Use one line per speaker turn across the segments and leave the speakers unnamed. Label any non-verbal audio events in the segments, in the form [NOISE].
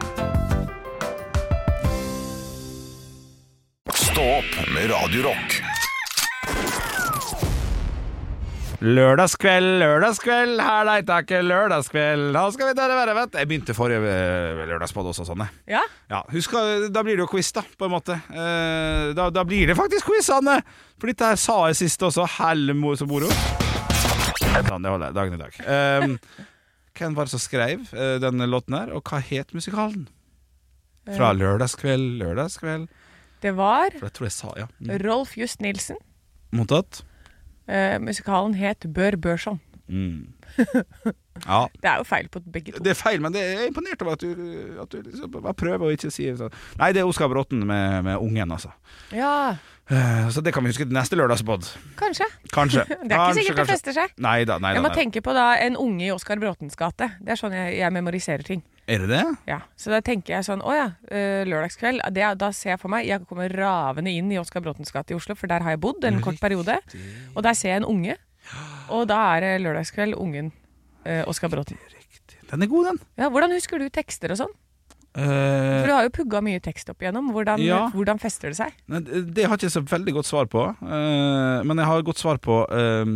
Stå opp med Radio Rock.
Lørdagskveld, lørdagskveld, her leita ikke lørdagskveld. Nå skal vi ta det være, vet Jeg begynte forrige eh, lørdagspod også sånn, jeg.
Ja.
Ja, husk, eh, da blir det jo quiz, da, på en måte. Eh, Da, da blir det faktisk quiz, Anne! For dette her sa jeg sist også. Helmo som moro. Sånn, det holder jeg. Dagen i dag. Ehm, hvem var det som skrev eh, denne låten her, og hva het musikalen? Fra lørdagskveld, lørdagskveld
Det var
For jeg tror jeg sa ja. Mm.
Rolf Just Nilsen.
Mottatt?
Eh, musikalen het Bør Børson.
Mm. Ja.
Det er jo feil på begge to.
Det er feil, men det jeg er imponert over at du, at du liksom bare prøver å ikke si sånn. Nei, det er Oskar Bråten med, med ungen, altså.
Ja,
Eh, Så det kan vi huske til neste lørdagspod.
kanskje.
Kanskje.
[LAUGHS] Det er ikke sikkert det fester seg.
Nei da, nei
Jeg må
da.
tenke på da en unge i Oskar Bråtens gate. Det er sånn jeg, jeg memoriserer ting.
Er det det?
Ja, Så da tenker jeg sånn Å ja, eh, lørdagskveld. Det, er- da ser jeg for meg Jeg kommer ravende inn i Oskar Bråtens gate i Oslo, for der har jeg bodd en kort periode. Og der ser jeg en unge. Og da er det lørdagskveld, ungen, eh, Oskar Bråten.
Den er god, den.
Ja, hvordan husker du tekster og sånn? For
Eh,
du har jo pugga mye tekst opp igjennom. Hvordan,
Ja.
hvordan fester det seg?
nei, det har jeg ikke så veldig godt svar på, eh, men jeg har godt svar på eh,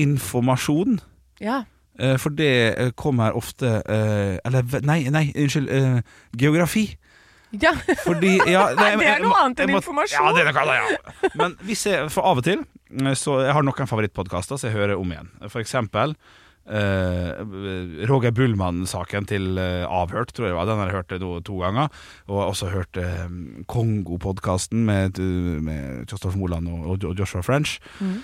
informasjon.
Ja.
Eh, For det eh, kommer ofte eh, Eller ve- nei, nei, unnskyld. eh, Geografi.
ja.
Fordi, ja, nei,
det er
jeg-
noe
jeg-
annet enn
jeg må-
informasjon.
Ja, det er noe annet, ja. Men hvis jeg, for av og til eh, så Jeg har noen favorittpodkaster som jeg hører om igjen. For eksempel eh, Roger Bullmann-saken til eh, Avhørt, tror jeg det var. Den har jeg hørt eh, to, to ganger. Og jeg har også hørt eh, Kongo-podkasten med, med Kristoffer Moland og, og Joshua French.
Mm.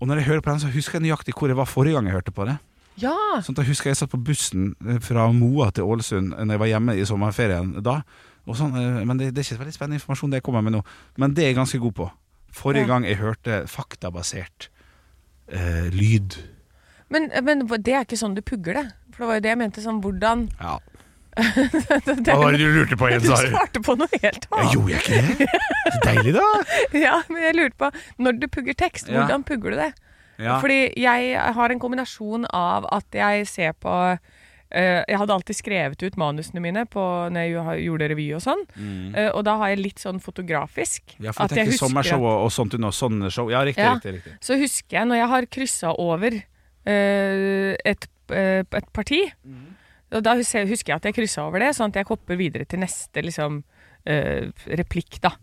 Og når jeg hører på den, så husker jeg nøyaktig hvor jeg var forrige gang jeg hørte på det.
ja.
Sånn at jeg husker jeg satt på bussen eh, fra Moa til Ålesund eh, Når jeg var hjemme i sommerferien da. Og sånn, eh, men det, det er ikke så veldig spennende informasjon det jeg kommer med nå. Men det er jeg ganske god på. Forrige gang jeg hørte faktabasert eh, lyd.
Men, men det er ikke sånn du pugger det. For det var jo det jeg mente. Sånn hvordan [LAUGHS]
Ja. Hva
det er-
var det du lurte på igjen,
[LAUGHS] Du
sa du?
svarte på noe helt
Ja,
annet.
gjorde jeg ikke [LAUGHS] det? Så deilig, da.
[LAUGHS] Ja, men jeg lurte på Når du pugger tekst,
Ja.
hvordan pugger du det?
Ja.
Fordi jeg har en kombinasjon av at jeg ser på eh, jeg hadde alltid skrevet ut manusene mine på, når jeg jo- gjorde revy og sånn. Eh, og da har jeg litt sånn fotografisk.
Mm. Ja, for
at
du tenker sommershow
at-
og, og sånt under sånne show. Ja, riktig,
Ja.
riktig. riktig.
Så husker jeg når jeg har kryssa over eh, et, eh, et parti, og da hus- husker jeg at jeg kryssa over det, sånn at jeg hopper videre til neste liksom, eh, replikk, da.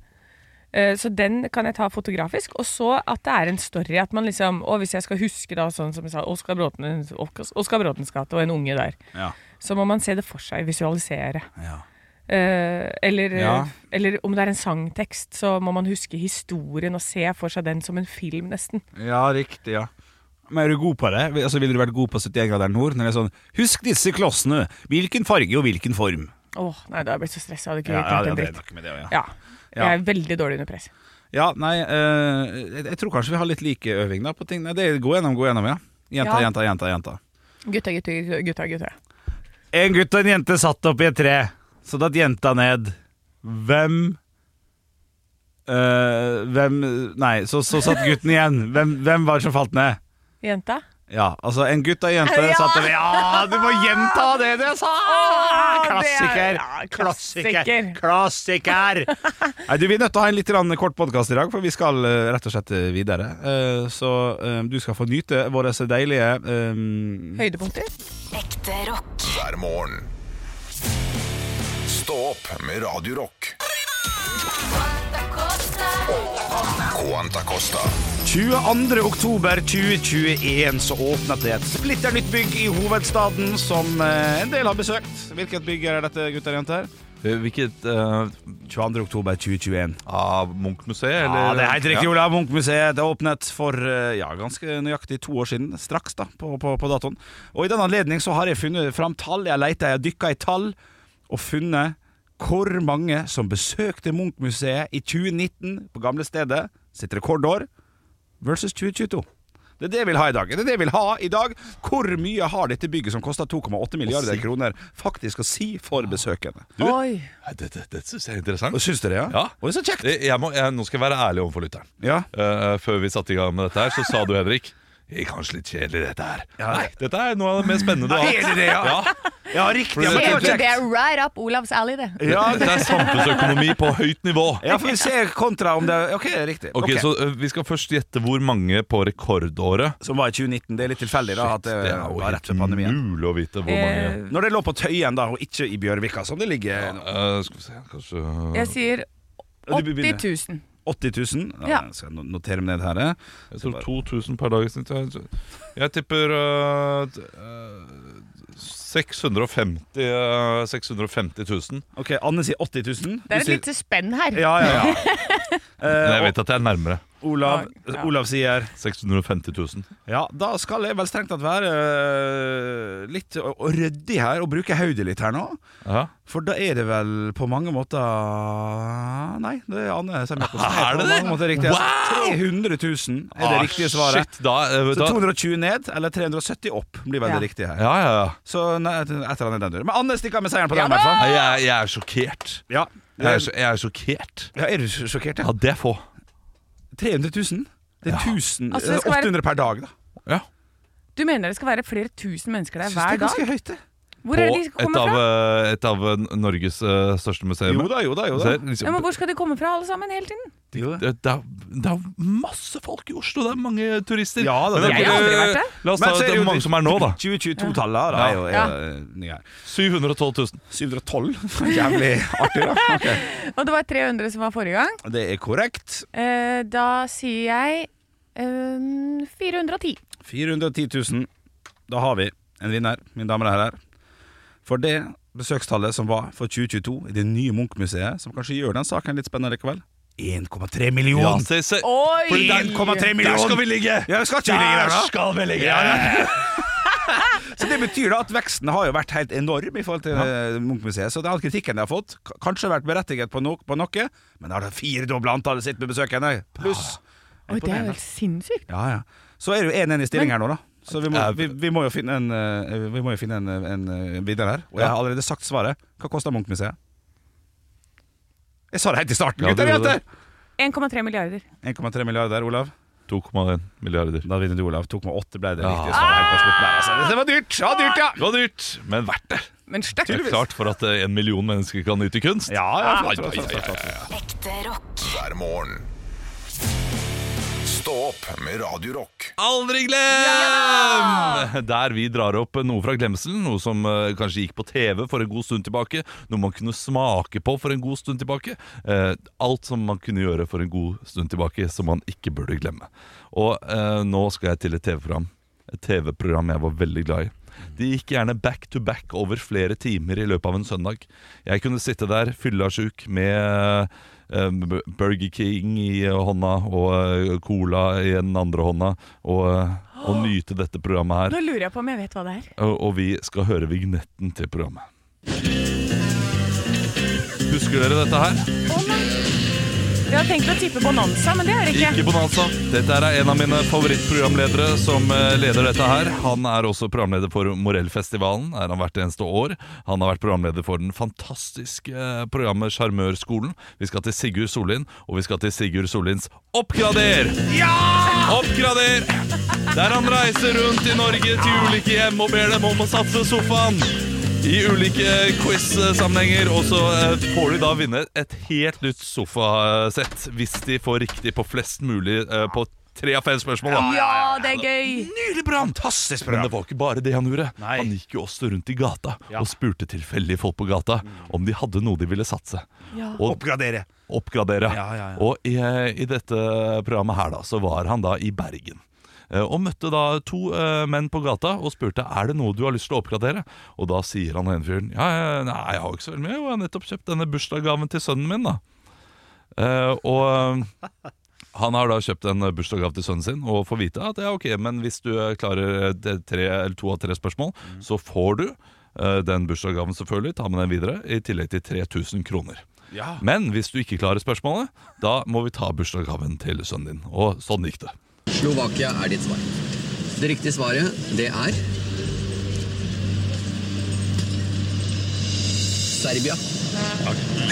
Eh, Så den kan jeg ta fotografisk. Og så at det er en story. At man liksom, og Hvis jeg skal huske da, sånn som jeg sa, Oskar Bråten- Oskar Bråtens gate og en unge der,
Ja.
så må man se det for seg, visualisere.
Ja.
Eh, eller,
Ja.
eller om det er en sangtekst, så må man huske historien og se for seg den som en film, nesten.
Ja, riktig, ja. Men er du god på det? Altså, Ville du vært god på 71 grader nord? Når det er sånn Husk disse klossene! Hvilken farge og hvilken form?
Åh, nei, da har jeg blitt så stressa. Hadde ikke
Ja, ja,
klart
ja,
en
det er
dritt.
noe med det, også, ja.
Ja.
Ja.
Jeg er veldig dårlig under press.
Ja, nei, eh, jeg, jeg tror kanskje vi har litt like øving da på ting. Nei, det er gå gjennom, gå gjennom, ja. Jenta,
Ja.
jenta, jenta, jenta.
Gutta, gutta, gutta, gutta, gutta.
En gutt og en jente satt oppi et tre, så datt jenta ned. Hvem eh, Hvem Nei, så, så satt gutten igjen. Hvem, hvem var det som falt ned?
Jenta?
Ja, altså en gutt og en jente
Ja!
satt over Ja, du må gjenta det du sa!
det er-
Klassiker!
ja,
Klassiker!
klassiker.
Klassiker! Nei, du, Vi er nødt til å ha en litt grann kort podkast i dag, for vi skal eh, rett og slett eh, videre. Eh, Så eh, du skal få nyte våre så deilige eh,
Høydepunkter?
Ekte rock.
hver morgen. Stå opp med Radio Rock. Quanta Costa.
22. oktober 2021 så åpnet det et splitter nytt bygg i hovedstaden som eh, en del har besøkt. Hvilket bygg er dette, gutter og jenter?
Eh, Hvilket eh,
22. oktober 2021.
av Munch-museet, eller?
Ja, det er helt riktig,
Ja.
Olav. Munch-museet det åpnet for eh, ja, ganske nøyaktig to år siden. Straks, da, på, på, på datoen. Og i den anledning så har jeg funnet fram tall. Jeg leita, jeg dykka i tall, og funnet Hvor mange som besøkte Munch-museet i 2019 på gamle stedet sitt rekordår versus 2022? Det er det jeg vil ha i dag. Det er det jeg vil ha i dag. Hvor mye har dette bygget, som kosta 2,8 milliarder kroner, faktisk å si for besøkende?
Oi.
Nei, Det, det, det syns jeg er interessant.
Syns dere det?
Ja.
Oi, så kjekt.
Jeg, jeg må, jeg, nå skal jeg være ærlig overfor lytteren.
Ja.
Eh, før vi satte i gang med dette her, så sa du, Henrik det er kanskje litt kjedelig, dette her. Nei, dette er noe av det mer spennende du har
Er det det, ja?
Ja.
Ja, riktig. Ja, men det var
Kjedelig,
kjekt.
det er right up Olavs alley, det.
Ja,
Dette er samfunnsøkonomi på høyt nivå.
ja, for vi ser kontra om det er Ok, riktig.
Ok,
Ok.
Så eh, vi skal først gjette hvor mange på rekordåret.
Som var i 2019. Det er litt tilfeldig, da. At det,
Det er jo
var Eh, rett
helt
ved pandemien.
umulig å vite hvor mange
Eh,
Når det lå på Tøyen, da, og ikke i Bjørvika, som det ligger nå.
Eh, Skal vi se, kanskje
Jeg sier
Ja, du
80
begynner.
000.
80 000. Ja,
Ja.
jeg Skal jeg no- notere meg ned her. eh.
Jeg tror 2000 per dag i snitt. Jeg, jeg tipper øh, t- øh, 650, øh, 650 000.
Ok, Anne sier 80 000.
Det er
Du
et
sier-
lite spenn her.
Ja, ja,
[LAUGHS]
ja.
Men
Eh,
jeg vet at jeg er nærmere.
og Olav,
Ja.
Olav sier
650 000.
Ja, da skal jeg vel strengt tatt være eh, litt å- å ryddig her, og bruke hodet litt her nå.
Ja.
For da er det vel på mange måter Nei, det er Anne Semjakov.
[LAUGHS] Er det det?
Riktig. Altså,
Wow!
300 000 er det
Ah,
riktige svaret.
Shit, da, øh,
Så
da,
220 ned, eller 370 opp, blir vel
Ja.
det riktige her.
ja, ja, ja.
Så nei, et eller annet i den duren. Men Anne stikker av med seieren på den,
Ja
i hvert fall.
Nei, Jeg, jeg er sjokkert.
Ja.
Jeg er, sj- jeg er sjokkert.
ja, er du sj- sjokkert?
Ja,
Ja.
det er få.
300 000? Det er 1000,
Altså, det skal være-
800 per dag, da.
Ja.
Du mener det skal være flere tusen mennesker der
Synes det
hver
er
dag?
ganske høyt, det.
Hvor er det de
På et
kommer
av,
fra?
øh, et av øh, Norges øh, største liksom- museer.
Jo da, jo da. jo da
Ja, men hvor skal de komme fra, alle sammen, hele tiden?
Jo da.
det, det, er, det er masse folk i Oslo, det er mange turister.
Ja, det-
Men
Jeg har aldri vært der.
La oss ta
Men så er
det
det jo-
er mange som er nå, da.
2022-tallet da, er jo
Ja.
er, nye her.
712 000.
712. [LAUGHS] Jævlig artig, da. Ok.
Og det var 300 som var forrige gang.
Det er korrekt.
Eh, da sier jeg eh, 410.
410 000. Da har vi en vinner, mine damer og herrer. For det besøkstallet som var for 2022 i det nye Munch-museet, som kanskje gjør den saken litt spennende likevel 1,3
Ja,
millioner!
se, se.
Oi!
Fordi det er 1,3 millioner!
skal vi ligge!
Ja, vi skal ikke ligge der, da. Så det betyr da at veksten har jo vært helt enorm i forhold til eh, Munch-museet. Så all kritikken de har fått, k- kanskje vært berettiget på, no på noe, men da har de firedobla antallet sitt med besøkende. Pluss.
Oi, det er jo helt sinnssykt.
Ja, ja. Så er det jo 1-1 i stilling her nå, da. Så vi må, vi, vi må jo finne en, eh, vi må jo finne en, eh, en eh, vinner her. Og jeg har allerede sagt svaret. Hva kosta Munch-museet? Jeg sa det helt i starten,
Ja,
gutter!
du gjorde
jenter!
1,3 milliarder.
1,3 milliarder, Olav.
2,1 milliarder.
Da vinner du, Olav. 2,8 ble det
Ja.
riktige svaret. helt på slutten der, Altså, det var dyrt! Ja, dyrt, ja!
Det var dyrt, men verdt det.
Men sterkt.
Det er klart for at eh, en million mennesker kan nyte kunst.
Ja, ja, flott,
Ai, ai,
flott, flott,
ai,
flott, flott.
Ekte rock.
hver morgen. Stå opp med Radio Rock.
Aldri glem! Der vi drar opp noe fra glemselen, noe som eh, kanskje gikk på TV for en god stund tilbake, noe man kunne smake på for en god stund tilbake. Eh, alt som man kunne gjøre for en god stund tilbake, som man ikke burde glemme. Og eh, nå skal jeg til et TV-program. Et TV-program jeg var veldig glad i. De gikk gjerne back to back over flere timer i løpet av en søndag. Jeg kunne sitte der fyllasjuk med eh, B- Burger King i eh, hånda og eh, cola i den andre hånda og, eh, og nyte dette programmet her.
Nå lurer jeg på om jeg vet hva det er.
Og, og vi skal høre vignetten til programmet. Husker dere dette her?
Jeg har tenkt å tippe Bonanza, men det er det ikke.
Ikke Bonanza. Dette her er en av mine favorittprogramledere som eh, leder dette her. Han er også programleder for Morellfestivalen. Er han hvert eneste år. Han har vært programleder for den fantastiske eh, programmet Sjarmørskolen. Vi skal til Sigurd Sollien, og vi skal til Sigurd Sollins Oppgrader! Oppgrader! Der han reiser rundt i Norge til ulike hjem og ber dem om å satse sofaen. I ulike quiz-sammenhenger. Og så eh, får de da vinne et helt nytt sofasett hvis de får riktig på flest mulig eh, på tre av fem spørsmål. Da.
Ja, det er gøy!
Nydelig program!
Fantastisk
Men
program!
det var ikke bare det han gjorde.
Nei.
Han gikk jo også rundt i gata og spurte tilfeldige folk på gata
Mm.
om de hadde noe de ville satse.
Ja.
Og
Oppgradere.
oppgradere.
Ja, ja, ja.
Og i, i dette programmet her da, så var han da i Bergen. Eh, Og møtte da to eh, menn på gata og spurte er det noe du har lyst til å oppgradere. Og da sier han ene fyren ja, ja, nei, jeg har ikke så veldig mye, jeg har nettopp kjøpt denne bursdagsgaven til sønnen min. da. Eh, og eh, han har da kjøpt en bursdagsgave til sønnen sin og eh,
Mm.
får vite at ja, ok, men hvis du eh, klarer det tre, eller to av tre spørsmål, så får du eh, den bursdagsgaven, selvfølgelig. Ta med den videre, i tillegg til 3000 kroner.
Ja.
Men hvis du ikke klarer spørsmålet, da må vi ta bursdagsgaven til sønnen din. Og sånn gikk det.
Slovakia er ditt svar. Det riktige svaret, det er Serbia.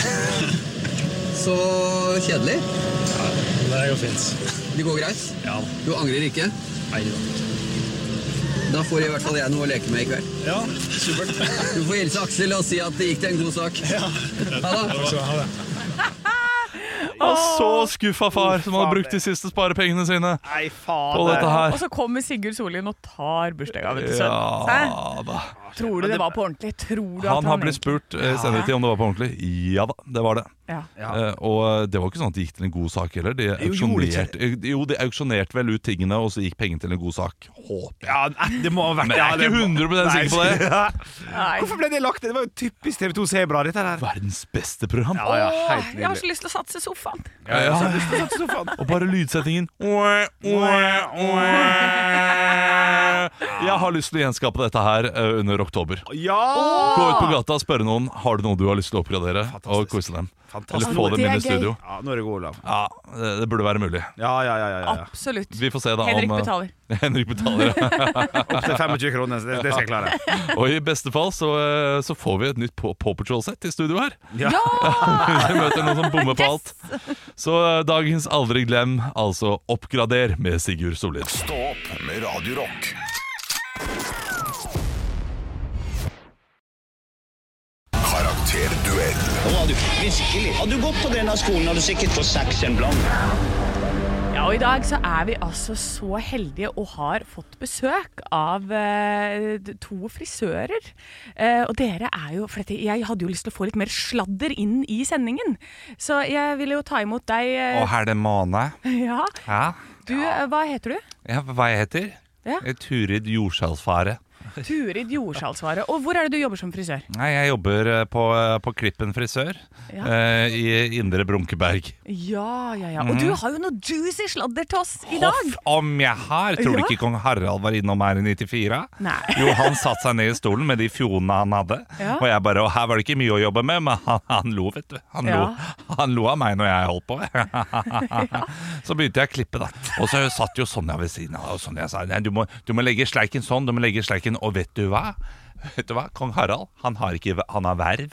[LAUGHS] Så kjedelig.
Det går fint.
Det går greit?
Ja.
Du angrer ikke?
Nei da.
Da får i hvert fall jeg noe å leke med i kveld.
Ja, supert.
Du får hilse Aksel og si at det gikk til en god
[LAUGHS]
sak. Ha det.
Takk skal du ha. det.
Og så skuffa far, som hadde brukt de siste sparepengene sine
Nei,
på dette
faen.
Og
her.
så kommer Sigurd Sollien og tar bursdagsgaven til sønnen. Hæ?
Ja da.
Tror du det var på ordentlig? Tror du at
Han har
han
blitt
egentlig-
spurt eh, i senere tid om det var på ordentlig. Ja da, det var det.
Ja.
Ja.
Eh, og det var ikke sånn at det gikk til en god sak heller. De
gjorde det
auksjonerte jo, de auksjonerte vel ut tingene, og så gikk pengene til en god sak. Håper jeg.
Ja, nei, det må ha vært
Men jeg er
ja, det
ikke
må-
100% sikker på det.
Nei.
Nei.
[LAUGHS] Hvorfor ble det lagt det? Det var jo typisk TV2 Sebra, dette her.
Verdens beste program.
Ja, ja, helt
Åh, jeg har
nydelig.
så lyst til å satse sofaen.
Ja, ja. Og bare lydsettingen. Jeg har lyst til å gjenskape dette her eh, under oktober.
Ja!
Gå ut på gata og spørre noen Har du noe du har lyst til å oppgradere. Og
Fantastisk.
kose dem.
Fantastisk.
Eller få dem
Det er
inn i
gøy.
studio.
Ja, nå er det god, Olav.
Ja, Det det burde være mulig.
Ja, ja, ja. ja, ja.
Absolutt.
Vi får se da
Henrik
om eh,
betaler.
[LAUGHS] Henrik betaler. ja.
Opptil 25 kroner, så det, det skal jeg klare.
Og i beste fall så, eh, så får vi et nytt Paw Paw Patrol-sett i studio her. [LAUGHS]
Ja.
Hvis vi møter noen som bommer på alt. Så eh, dagens Aldri glem, altså Oppgrader med Sigurd Sollien.
Stå opp med Radio Rock. Karakterduell
Nå var du virkelig. Hadde du gått på denne skolen, hadde du sikkert fått seks en blank.
Ja, og I dag så er vi altså så heldige og har fått besøk av eh, d- to frisører. Eh, og dere er jo For dette, jeg hadde jo lyst til å få litt mer sladder inn i sendingen. Så jeg ville jo ta imot deg. eh,
er det måne.
[LAUGHS] ja.
Ja.
Du, eh, hva heter du?
hva jeg heter?
Ja.
Turid Jordskjellsfare.
Turid Jordsalsvaret. Og hvor er det du jobber som frisør?
Nei, jeg jobber eh, på, Klippen frisør eh,
Ja.
i Indre Brunkeberg.
Ja, ja, ja. Og
Mhm.
du har jo noe juicy sladder til oss i dag!
om jeg har! Tror du
Ja.
ikke kong Harald var innom her i 94?
Nei.
Jo, han satte seg ned i stolen med de fjonene han hadde.
Ja.
Og jeg bare Og her var det ikke mye å jobbe med, men han, han lo, vet du. Han,
Ja.
lo, han lo av meg når jeg
[LAUGHS]
holdt på. [LAUGHS] Så begynte jeg å klippe, da. Og så satt jo Sonja ved siden av, og Sonja sa Nei, du må, du må legge sleiken sånn, du må legge sleiken Og vet du hva? Vet du hva? Kong Harald, han har ikke Han har verv.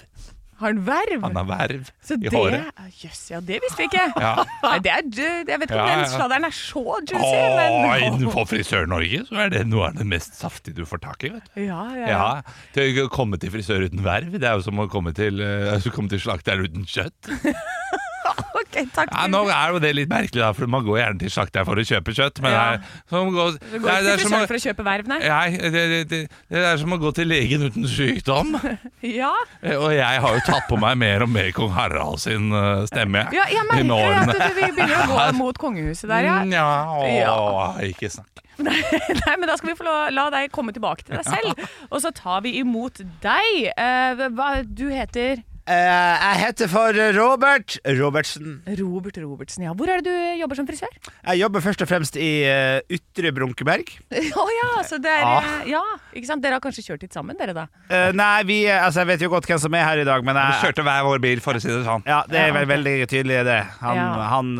Har en verv.
Han har verv
Så
i
det ah,
håret.
Jøss, ja, det visste jeg ikke.
Ja.
Nei, det er, ju- jeg vet ikke om
Ja,
den
ja.
sladderen er så juicy,
Og
men
innenfor Frisør-Norge så er det noe av det mest saftige du får tak i, vet du.
ja, ja, ja.
Ja, til å komme til frisør uten verv, det er jo som å komme til, eh, [LAUGHS] altså, komme til slakteren uten kjøtt.
Ok, takk.
Ja, nå er jo det litt merkelig, da, for man går gjerne til slakteren for å kjøpe kjøtt. Men
Ja.
det er som å gå-
Du går
det er- det
ikke
er
til
som
frisør
å-
for å kjøpe verv, nei?
Nei, det, det, det, det er som å gå til legen uten sykdom.
Ja,
Eh, Og jeg har jo tatt på meg mer og mer kong Harald sin eh, stemme.
ja jeg
i
merker
årene.
at du, vi begynner å
[LAUGHS]
gå mot kongehuset der, ja.
Mm, Ja, å, ikke snakk.
[LAUGHS] Nei, men da skal vi få la, la deg komme tilbake til deg selv, og så tar vi imot deg. Eh, hva du heter?
Eh, jeg heter for Robert Robertsen.
Robert Robertsen, ja. Hvor er det du jobber som frisør?
Jeg jobber først og fremst i eh, Ytre Brunkeberg.
[LAUGHS] Å ja, så det er
Ah.
eh, Ja, ikke sant. Dere har kanskje kjørt litt sammen, dere da?
Eh, nei, vi eh, Altså, jeg vet jo godt hvem som er her i dag, men jeg,
Kjørte hver vår bil, for å si det sånn.
Ja, det er vel veldig tydelig, det. Han,
Ja.
han,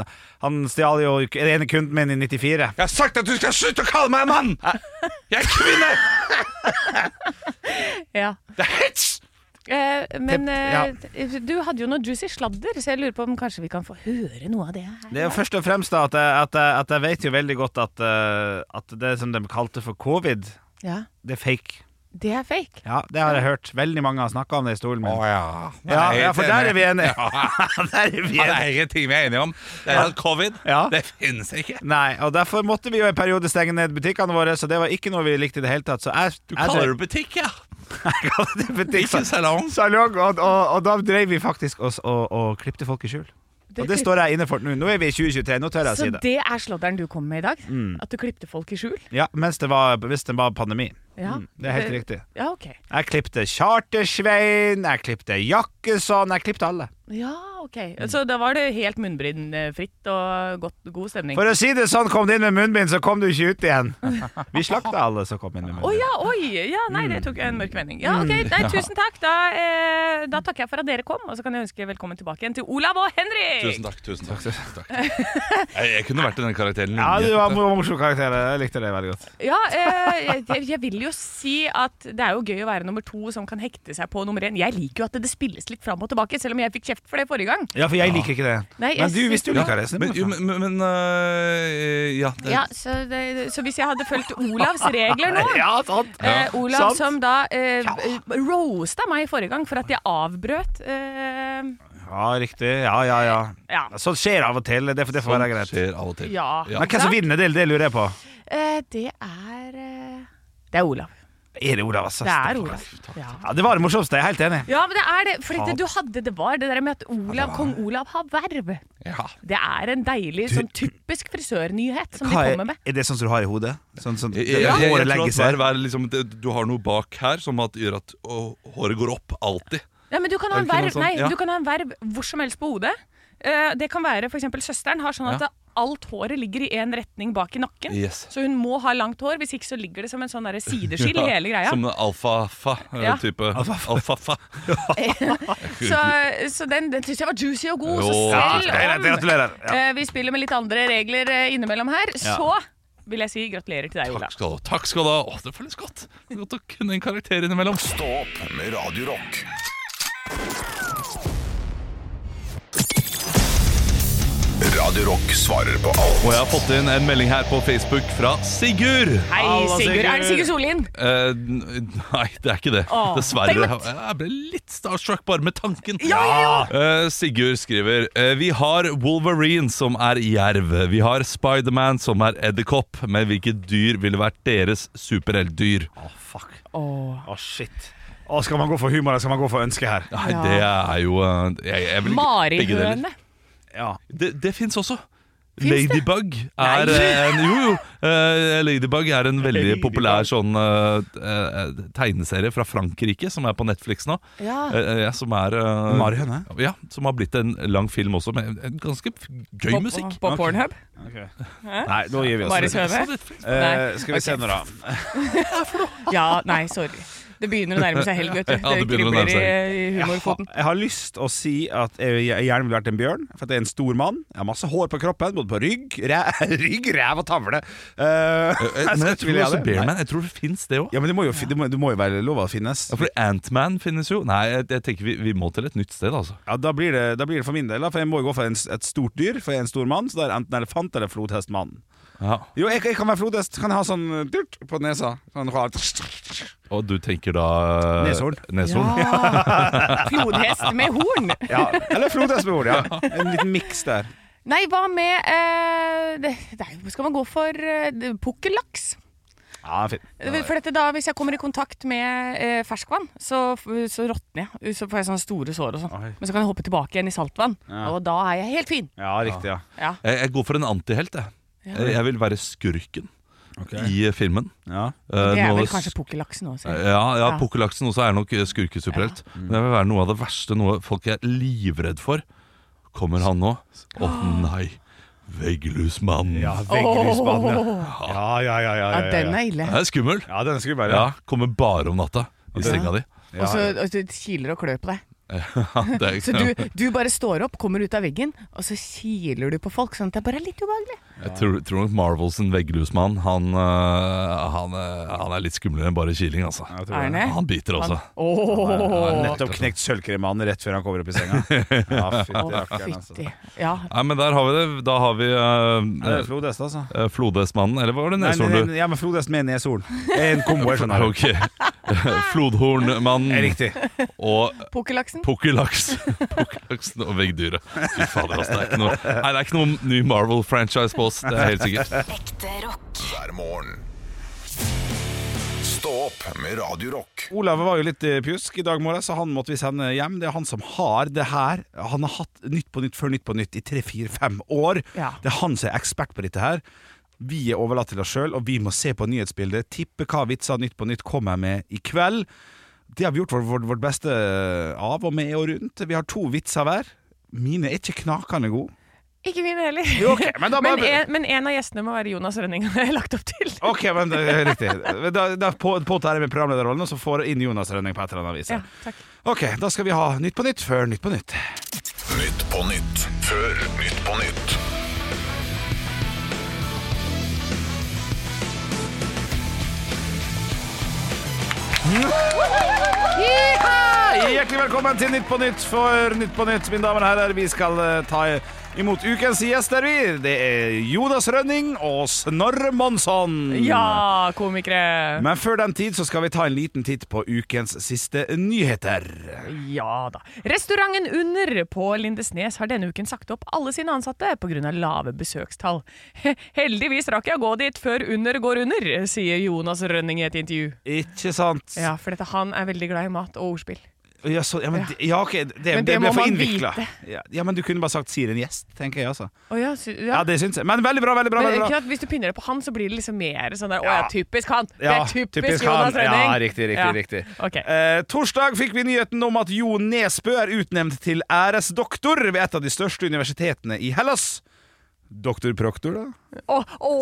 han stjal jo den ene kunden min i 94.
Jeg har sagt at du skal slutte å kalle meg mann! Jeg er kvinne!
Ja.
Det er hets!
Eh, men
Tett,
eh, du hadde jo noe juicy sladder, så jeg lurer på om kanskje vi kan få høre noe av det her.
Det er jo først og fremst da at jeg, at jeg, at jeg vet jo veldig godt at, eh, at det som de kalte for covid,
Ja,
det er fake.
Det er fake.
Ja, Det har jeg hørt. Veldig mange har snakka om det i stolen min.
ja.
Ja, ja, for der er vi enige. [LAUGHS] der er vi
Ja, det
enige.
er ingenting vi er enige om. Det er at covid,
Ja.
det finnes ikke.
Nei, og derfor måtte vi jo en periode stenge ned butikkene våre, så det var ikke noe vi likte i det hele tatt. Så jeg,
Du
jeg
kaller det butikk, ja.
jeg [LAUGHS] kaller det butikk.
Ikke salong.
Salong, og, og, og da drev vi faktisk oss og, og klippte folk i skjul. Og det står jeg inne for nå. Nå er vi i 2023, nå tør jeg
Så
si det.
det er sladderen du kom med i dag? At du klipte folk i skjul?
Ja, mens det var, hvis det var pandemi.
Ja.
Mm, det er helt riktig.
Ja, ok.
sånn, Jeg klippte Chartersvein, jeg klippte Jakkesson, jeg klippte alle.
Ja, ok. Så da var det helt munnbrynfritt og godt, god stemning.
For å si det sånn, kom du inn med munnbind, så kom du ikke ut
[LAUGHS]
igjen. Vi slakta alle som kom inn med
Å
munnbind.
ja, oi! Ja, nei, det tok en mørk vending. Ja, ok, nei, Tusen takk. Da, eh, da takker jeg for at dere kom, og så kan jeg ønske velkommen tilbake igjen til Olav og Henrik!
Tusen takk. tusen takk,
[LAUGHS]
Jeg, jeg kunne vært i den karakteren.
Ja,
lenge.
du var mor- morsom karakter. Jeg likte det veldig godt.
Ja, eh, jeg, jeg vil jo si at det er jo gøy å være nummer to som kan hekte seg på nummer én. Jeg liker jo at det spilles litt fram og tilbake, selv om jeg fikk kjeft for det forrige gang.
Ja, for jeg liker ikke det.
Nei, jeg
Men du,
synes-
hvis du liker det, så
Men, jo, men, men øh, ja, det,
Ja, så, det, så hvis jeg hadde fulgt Olavs regler nå
Ja, sant.
Eh, Olav
Sant.
som da eh, roasta meg forrige gang for at jeg avbrøt eh,
Ja, riktig. Ja, ja, ja.
Ja.
Sånt skjer av og til. Det, får- det får være
sånt
greit.
sånn skjer av og til.
ja.
Ja.
Men hvem som vinner, det, det lurer jeg på.
Eh, det er eh, Det er Olav.
Er det Olav? altså?
Det er Olav. Ja.
Ja, det var det morsomste. Jeg er helt enig.
ja, men det er det. For det, du hadde det var det der med at Olav, kong Olav har verv.
Ja.
Det er en deilig, sånn typisk frisørnyhet som de
Hva
kommer
er,
med.
er det sånn som du har i hodet? Sånn, sånn,
Jeg, jeg, jeg, jeg,
håret
tror
legger
at
seg?
hver, hver, liksom, det, du har noe bak her som at, gjør at å, håret går opp alltid.
Ja, men du kan ha en
Er det ikke noe
verv,
sånn-
nei,
ja.
du kan ha en verv hvor som helst på hodet. Eh, det kan være f.eks. søsteren har sånn at
Ja.
alt håret ligger i én retning bak i nakken.
Yes.
Så hun må ha langt hår, hvis ikke så ligger det som en sånn der
[LAUGHS]
sideskill i
Ja,
hele greia.
Som en
Ja.
alfa-fa-type. Alfa-fa.
Så, så den, den syns jeg var juicy og god. Så
Jo,
selv
Ja,
om
gratulerer. Ja.
eh, vi spiller med litt andre regler eh, innimellom her, så vil jeg si gratulerer til deg,
Takk
Olav.
skal du ha. Takk skal du ha. Å, det føles godt. Det er Godt å kunne en karakter innimellom.
Stå opp med Radio Rock. Radio Rock svarer på alt.
Og jeg har fått inn en melding her på Facebook fra Sigurd.
Hei,
Halla,
Sigurd. Er det
Sigurd.
Sigurd Sollien?
Eh, n- nei, det er ikke det.
Åh,
Dessverre.
damn it.
Jeg ble litt starstruck bare med tanken.
Ja, ja, ja.
Eh, Sigurd skriver eh, Vi har Wolverine som er jerv. Vi har Spiderman som er edderkopp. Men hvilket dyr ville vært deres superheltdyr?
Å, fuck. Å, shit. Å, skal man gå for humor, eller skal man gå for ønske her?
Nei, det er jo eh, jeg, jeg vil ikke- begge deler.
Marihøne.
Ja.
Det, det fins også.
Finnes det?
Ladybug er eh, en, Jo, jo. eh, Ladybug er en veldig
Ladybug.
populær sånn eh, eh, tegneserie fra Frankrike som er på Netflix nå.
Ja.
Eh, eh, som er eh,
Marihøne?
Ja, som har blitt en lang film også, med en ganske f- gøy musikk.
På, på [LAUGHS] Pornhub?
Nei, nå gir vi oss.
Maris Høve?
Eh,
Nei.
skal vi se nå, da.
Ja, nei, sorry. Det begynner å nærme seg helg, vet du.
Ja, det begynner å nærme
kribler i,
seg.
i
Jeg har,
humorfoten.
jeg har lyst å si at jeg jeg gjerne ville vært en bjørn, for at jeg er en stor mann. Jeg har masse hår på kroppen, både på rygg, ræ, [LAUGHS] rygg ræv og tavle. [LAUGHS] Eh,
Eh, eh,
jeg skulle
Men jeg
ikke
tror
ville
også
det. Nei.
Bearman Jeg tror det fins, det òg.
Ja, men det må, jo, fi- det, må, det må jo være lov å finnes.
Ja, for Antman finnes jo. Nei, jeg, jeg tenker vi, vi må til et nytt sted, altså.
Ja, da blir, det, da blir det for min del, da, for jeg må jo gå for en, s- et stort dyr, for jeg er en stor mann. Så da er det enten elefant eller flodhestmann.
Ja.
Jo, jeg, jeg kan være flodhest. Kan jeg ha sånn eh, dyrt på nesa. Sånn rar
Og du tenker da eh,
Neshorn.
Neshorn.
[LAUGHS]
Flodhest med horn!
[LAUGHS] Ja, eller flodhest med horn, [LAUGHS] ja. En liten miks der.
Nei, hva med eh, det, det er jo- Skal man gå for eh, det- pukkellaks?
Ja, fin.
For dette da, Hvis jeg kommer i kontakt med eh, ferskvann, så, så råtner jeg. Så får jeg sånne store sår og sånn.
Oi.
Men så kan jeg hoppe tilbake igjen i saltvann, og da er jeg helt fin.
Ja, riktig, ja.
Ja.
Jeg, jeg går for en antihelt, jeg. Jeg- Jeg vil være skurken i eh, filmen.
ja.
Eh,
Det er
noe
vel
av det
kanskje pukkellaksen òg.
s- ja, ja,
Ja.
Pukkellaksen også er nok eh, skurkesuperhelt. Men det vil være noe av det verste, noe folk er livredd for. Kommer han nå? Å nei! Veggelusmannen.
Ja, vegglysbanen, ja. Ja, ja, ja, ja,
Ja,
ja, ja,
den er ille.
Det er skummel.
ja. den skulle bare
Ja, Kommer bare om natta i senga di.
Og så og så kiler og klør på deg.
Ja, det er,
[LAUGHS]
Så du, du bare står opp, kommer ut av veggen, og så kiler du på folk. Sånn at det bare er litt ubehagelig.
jeg tror, tror nok Marvels en veggelusmann han, eh, han, eh, han er litt skumlere enn bare kiling, altså.
Er den det?
Han biter også.
Åh.
Nettopp knekt sølvkremannen rett før han kommer opp i senga. [LAUGHS] Ja, fytti
Å,
rakkeren, altså.
fytti. Ja.
Nei, men der har vi det. Da har vi eh,
Er det flodhest, altså?
eh, Flodhestmannen, eller var det
Nei,
Neshorn du
nei, ja, men flodhest med neshorn. En kombo, jeg [LAUGHS] skjønner.
Ok. [LAUGHS] Flodhornmannen
Er Riktig.
og
Pukkellaksen.
[LAUGHS] pukkellaks. Pukkellaksen og veggdyret. Fy fader, altså. Det er ikke noe, nei, det er ikke noen ny Marvel-franchise på oss, det er helt sikkert.
Ekte rock.
hver morgen. Stå opp med Radio Rock.
Olav var jo litt eh, pjusk i dag morges, så han måtte vi sende hjem. Det er han som har det her. Han har hatt Nytt på Nytt før Nytt på Nytt i tre, fire, fem år.
Ja.
Det er han som er ekspert på dette her. Vi er overlatt til oss sjøl, og vi må se på nyhetsbildet, tippe hva vitser Nytt på Nytt kommer med i eh, kveld. Det har vi gjort vårt, vårt, vårt beste av og med og rundt. Vi har to vitser hver. Mine er ikke knakende gode.
Ikke mine heller.
Jo, ok, men da bare-
men, en, men en av gjestene må være Jonas Rønning, [LAUGHS] har jeg lagt opp til.
Ok, men det er riktig. Da, da på, påtar jeg meg programlederrollen, og så får jeg inn Jonas Rønning på et eller annet vis.
Ja, takk.
Ok, da skal vi ha Nytt på nytt før Nytt på nytt.
Nytt på nytt før Nytt på nytt.
Hjertelig velkommen til Nytt på Nytt for Nytt på Nytt, mine damer og herrer. Vi skal eh, ta imot ukens gjester, vi. Det er Jonas Rønning og Snorre Monsson.
Ja, komikere!
Mm. Men før den tid så skal vi ta en liten titt på ukens siste nyheter.
Ja da. Restauranten Under på Lindesnes har denne uken sagt opp alle sine ansatte pga. lave besøkstall. [LAUGHS] Heldigvis rakk jeg å gå dit før Under går under, sier Jonas Rønning i et intervju.
Ikke sant?
Ja, for dette, han er veldig glad i mat og ordspill.
Ja, så, ja, men, det- ja ok, det, det,
Men det
ble
må
for
man
innvikla.
vite.
Ja, ja, men du kunne bare sagt 'sier en gjest', tenker jeg altså.
Å ja, sy- ja.
Ja, det syns jeg. Men veldig bra, veldig bra.
Men,
Veldig
ikke
bra.
sant, hvis du pinner det på han, så blir det liksom mer sånn der Å
Ja.
ja, typisk han! Det
Ja,
er typisk,
typisk han.
Jonas Rønning!
Ja, riktig, riktig, riktig.
Ok.
Eh, torsdag fikk vi nyheten om at Jo Nesbø er utnevnt til æresdoktor ved et av de største universitetene i Hellas. Doktor Proktor, da?
Å, å,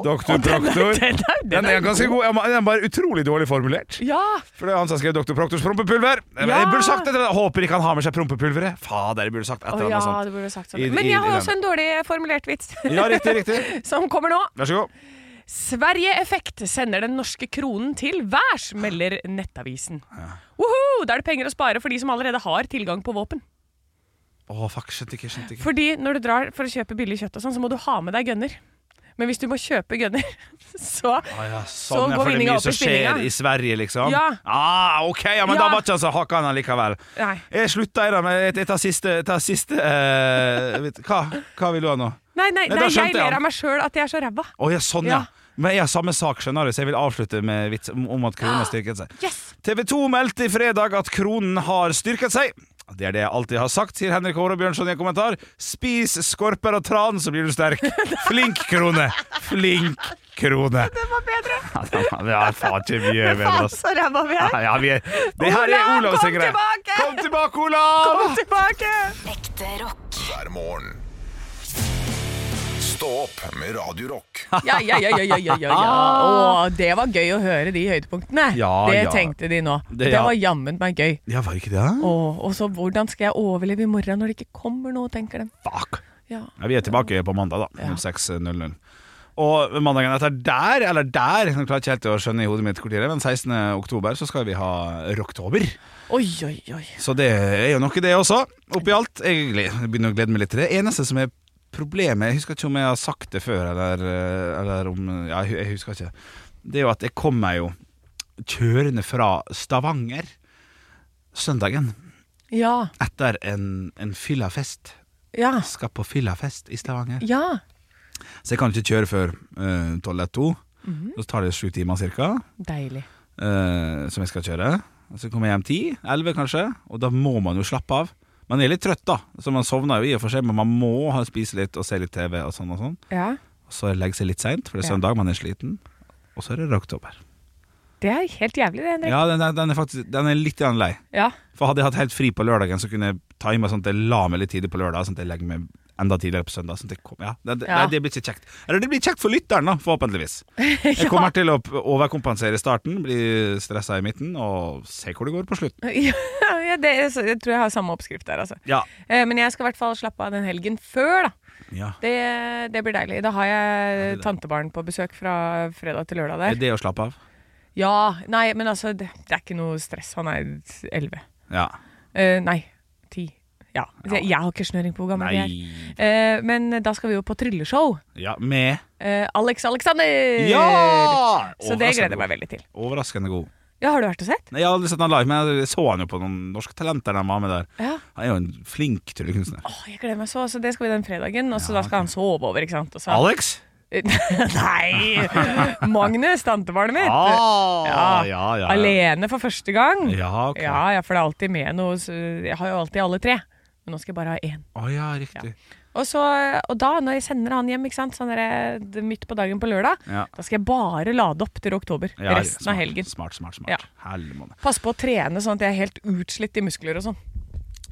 Doktor
å, den er-
Proktor.
[LAUGHS] Den er, den
Den
er,
er ganske god. Den er bare utrolig dårlig formulert.
Ja!
For det er han som skrev Doktor Proktors prompepulver.
Ja.
Jeg burde sagt et eller annet. Håper ikke han har med seg prompepulveret. Fader, jeg burde sagt et
Å
eller
ja,
annet sånt.
det burde du sagt
I-
sånn. Men
i-
jeg
i
har også
den.
en dårlig formulert vits
Ja, riktig, riktig.
[LAUGHS] som kommer nå.
Vær så god.
Sverige-effekt sender den norske kronen til værs, melder Nettavisen. Woho! Da er det penger å spare for de som allerede har tilgang på våpen.
Å, fuck, skjønte ikke, skjønte ikke.
Fordi når du drar for å kjøpe billig kjøtt, og sånn, så må du ha med deg gønner. Men hvis du må kjøpe gønner, [LAUGHS] så
Ah, ja,
Så
sånn, ja, for
går
det er
vinninga
mye
opp i
som skjer
spinninga.
i Sverige, liksom?
Ja.
Ah, ok, ja, men da
Ja.
var ikke han så hakka han likevel.
Nei.
Jeg slutta i det, men jeg- jeg tar siste, jeg tar siste eh, vet, hva, hva vil du ha nå?
Nei, nei,
Nei, da
nei
skjønte
jeg
jeg han.
ler av meg sjøl at jeg er så ræva.
Å ja, sånn, ja.
Ja.
Men jeg har samme sak, skjønner du, så jeg vil avslutte med vits om om at kronen har styrket seg.
Yes!
TV 2 meldte i fredag at kronen har styrket seg. Det er det jeg alltid har sagt, sier Henrik Håre Bjørnson i en kommentar. Spis skorper og tran, så blir du sterk. Flink krone! Flink krone!
[LAUGHS] Det var bedre!
Det er faen ikke mye altså. bedre,
Faen,
ass.
så ræva vi er!
Ja, ja, vi er. Det her er
Olav,
Olavs
kom
greie.
tilbake!
Kom tilbake, Olav!
Kom tilbake!
Ekte rock.
hver morgen. Stå opp med Radio Rock.
Ja, ja, ja, ja, ja, ja, ja. Å, det var gøy å høre de høydepunktene.
Ja,
det
ja.
tenkte de nå.
Det,
Det,
ja.
var jammen meg gøy.
Ja, var det ikke det?
Å, og så hvordan skal jeg overleve i morgen når det ikke kommer noe, tenker de.
Fuck.
Ja.
Ja, vi er tilbake på mandag, da. 06.00. Og mandagen etter der, eller der, jeg klarer ikke helt å skjønne i hodet mitt hvor tid det er, men 16. oktober så skal vi ha Rocktober.
Oi, oi, oi.
Så det er jo noe, det også. Oppi alt. Jeg gled- jeg begynner å glede meg litt til det. Eneste som er problemet, jeg husker ikke om jeg har sagt det før, eller, eh, eller om Ja, jeg jeg husker ikke. Det er jo at jeg kom meg jo kjørende fra Stavanger søndagen
Ja,
etter en, en fyllafest.
ja,
Skal på fyllafest i Stavanger.
ja.
Så jeg kan ikke kjøre før eh, 12 eller 2 Så tar det sju timer cirka
Deilig.
eh, Som jeg skal kjøre Og Så kommer jeg hjem 10, 11 kanskje Og da må man jo slappe av Man er litt trøtt da, så man sovner jo i og for seg Men man må ha- spise litt og se litt TV og sånn og sånn
Ja,
Og så legge seg litt sent, for det er
Ja.
søndag man er sliten Og så er det oktober
det er helt jævlig det, Henrik.
Ja, den, er- den er faktisk den er litt grann lei
Ja. [LAUGHS]
For hadde jeg hatt helt fri på lørdagen Så kunne jeg ta i meg sånn at jeg la meg litt tidlig på lørdag Sånn at jeg legger meg enda tidligere på søndag sånn at jeg kom, ja. Det, det,
Ja.
det blir ikke kjekt Eller det blir kjekt for lytteren da,
[LAUGHS]
forhåpentligvis jeg kommer til å p- overkompensere i starten, bli stressa i midten og se hvor det går på slutten.
ja det, er så- jeg tror jeg har samme oppskrift der, altså.
Ja.
Eh, Men jeg skal i hvert fall slappe av den helgen før, da. Det, det blir deilig. Da har jeg tantebarn på besøk fra fredag til lørdag der.
Er det å slappe av?
Ja, nei, men altså, det, det er ikke noe stress. Han er 11.
Ja.
Eh, nei, 10. Ja. Jeg, jeg har ikke snøring på hvor gammel de er. Eh, men da skal vi jo på trylleshow.
Ja, med
Eh, Alex Alexander! Eh, Så det gleder jeg meg veldig til.
Overraskende god.
Ja, Har du vært og sett?
Nei, Jeg har aldri sett han live, men jeg så han jo på noen norske talenter. Den var med der
Ja.
Han er jo en flink tryllekunstner.
Åh, jeg gleder meg så. Så det skal vi den fredagen. Og så da skal han sove over, ikke sant. Og så...
Alex?
[LAUGHS] nei! [LAUGHS] Magnus, tantebarnet mitt.
Ah,
Ja.
ja, ja.
Alene for første gang.
Ja, ok.
ja, ja, for det er alltid med noe. så Jeg har jo alltid alle tre. Men nå skal jeg bare ha én.
Å ja, riktig.
Og, så, og da, når jeg sender han hjem ikke sant? Sånn der, det er midt på dagen på lørdag,
Ja.
da skal jeg bare lade opp til oktober.
Ja, sånn.
resten
smart,
av helgen.
Smart, smart, smart.
Ja.
Helmåne.
Pass på å trene sånn at jeg er helt utslitt i muskler og sånn.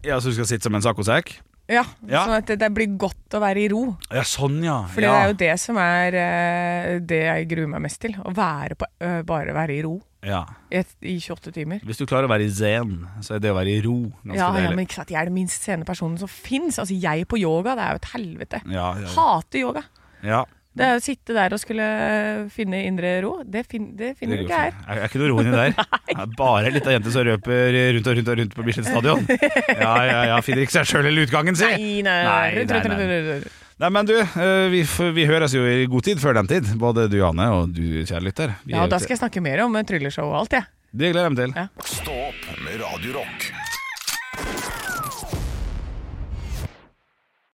Ja, så du skal sitte som en saccosekk?
Ja,
Ja.
Sånn at det, det blir godt å være i ro.
Ja, sånn, ja.
For det
ja.
er jo det som er eh, det jeg gruer meg mest til. Å være på, ø, bare være i ro
ja.
i, et, i 28 timer.
Hvis du klarer å være i zen, så er det å være i ro ganske
Ja, ja,
deilig.
men ikke sant, Jeg er den minst sene personen som fins. Altså, jeg på yoga, det er jo et helvete.
Ja, ja,
Hater yoga.
ja.
Det er Å sitte der og skulle eh, finne indre ro, det, fin, det finner du
går
ikke her.
fint. Jeg er ikke noe ro inni
[LAUGHS]
der. Det er bare ei lita jente som røper rundt og rundt og rundt på Bislett stadion. Ja, ja, ja, finner ikke seg sjøl eller utgangen, si!
Nei,
Nei,
nei,
nei,
nei,
nei.
nei.
Nei, men du, eh, vi, f- vi høres jo i god tid før den tid, både du, Anne, og du, kjære lytter. Vi
Ja,
er
og da
ute.
skal jeg snakke mer om eh, trylleshow og alt, jeg.
Det gleder jeg meg til.
Ja.
Stå opp med Radio Rock.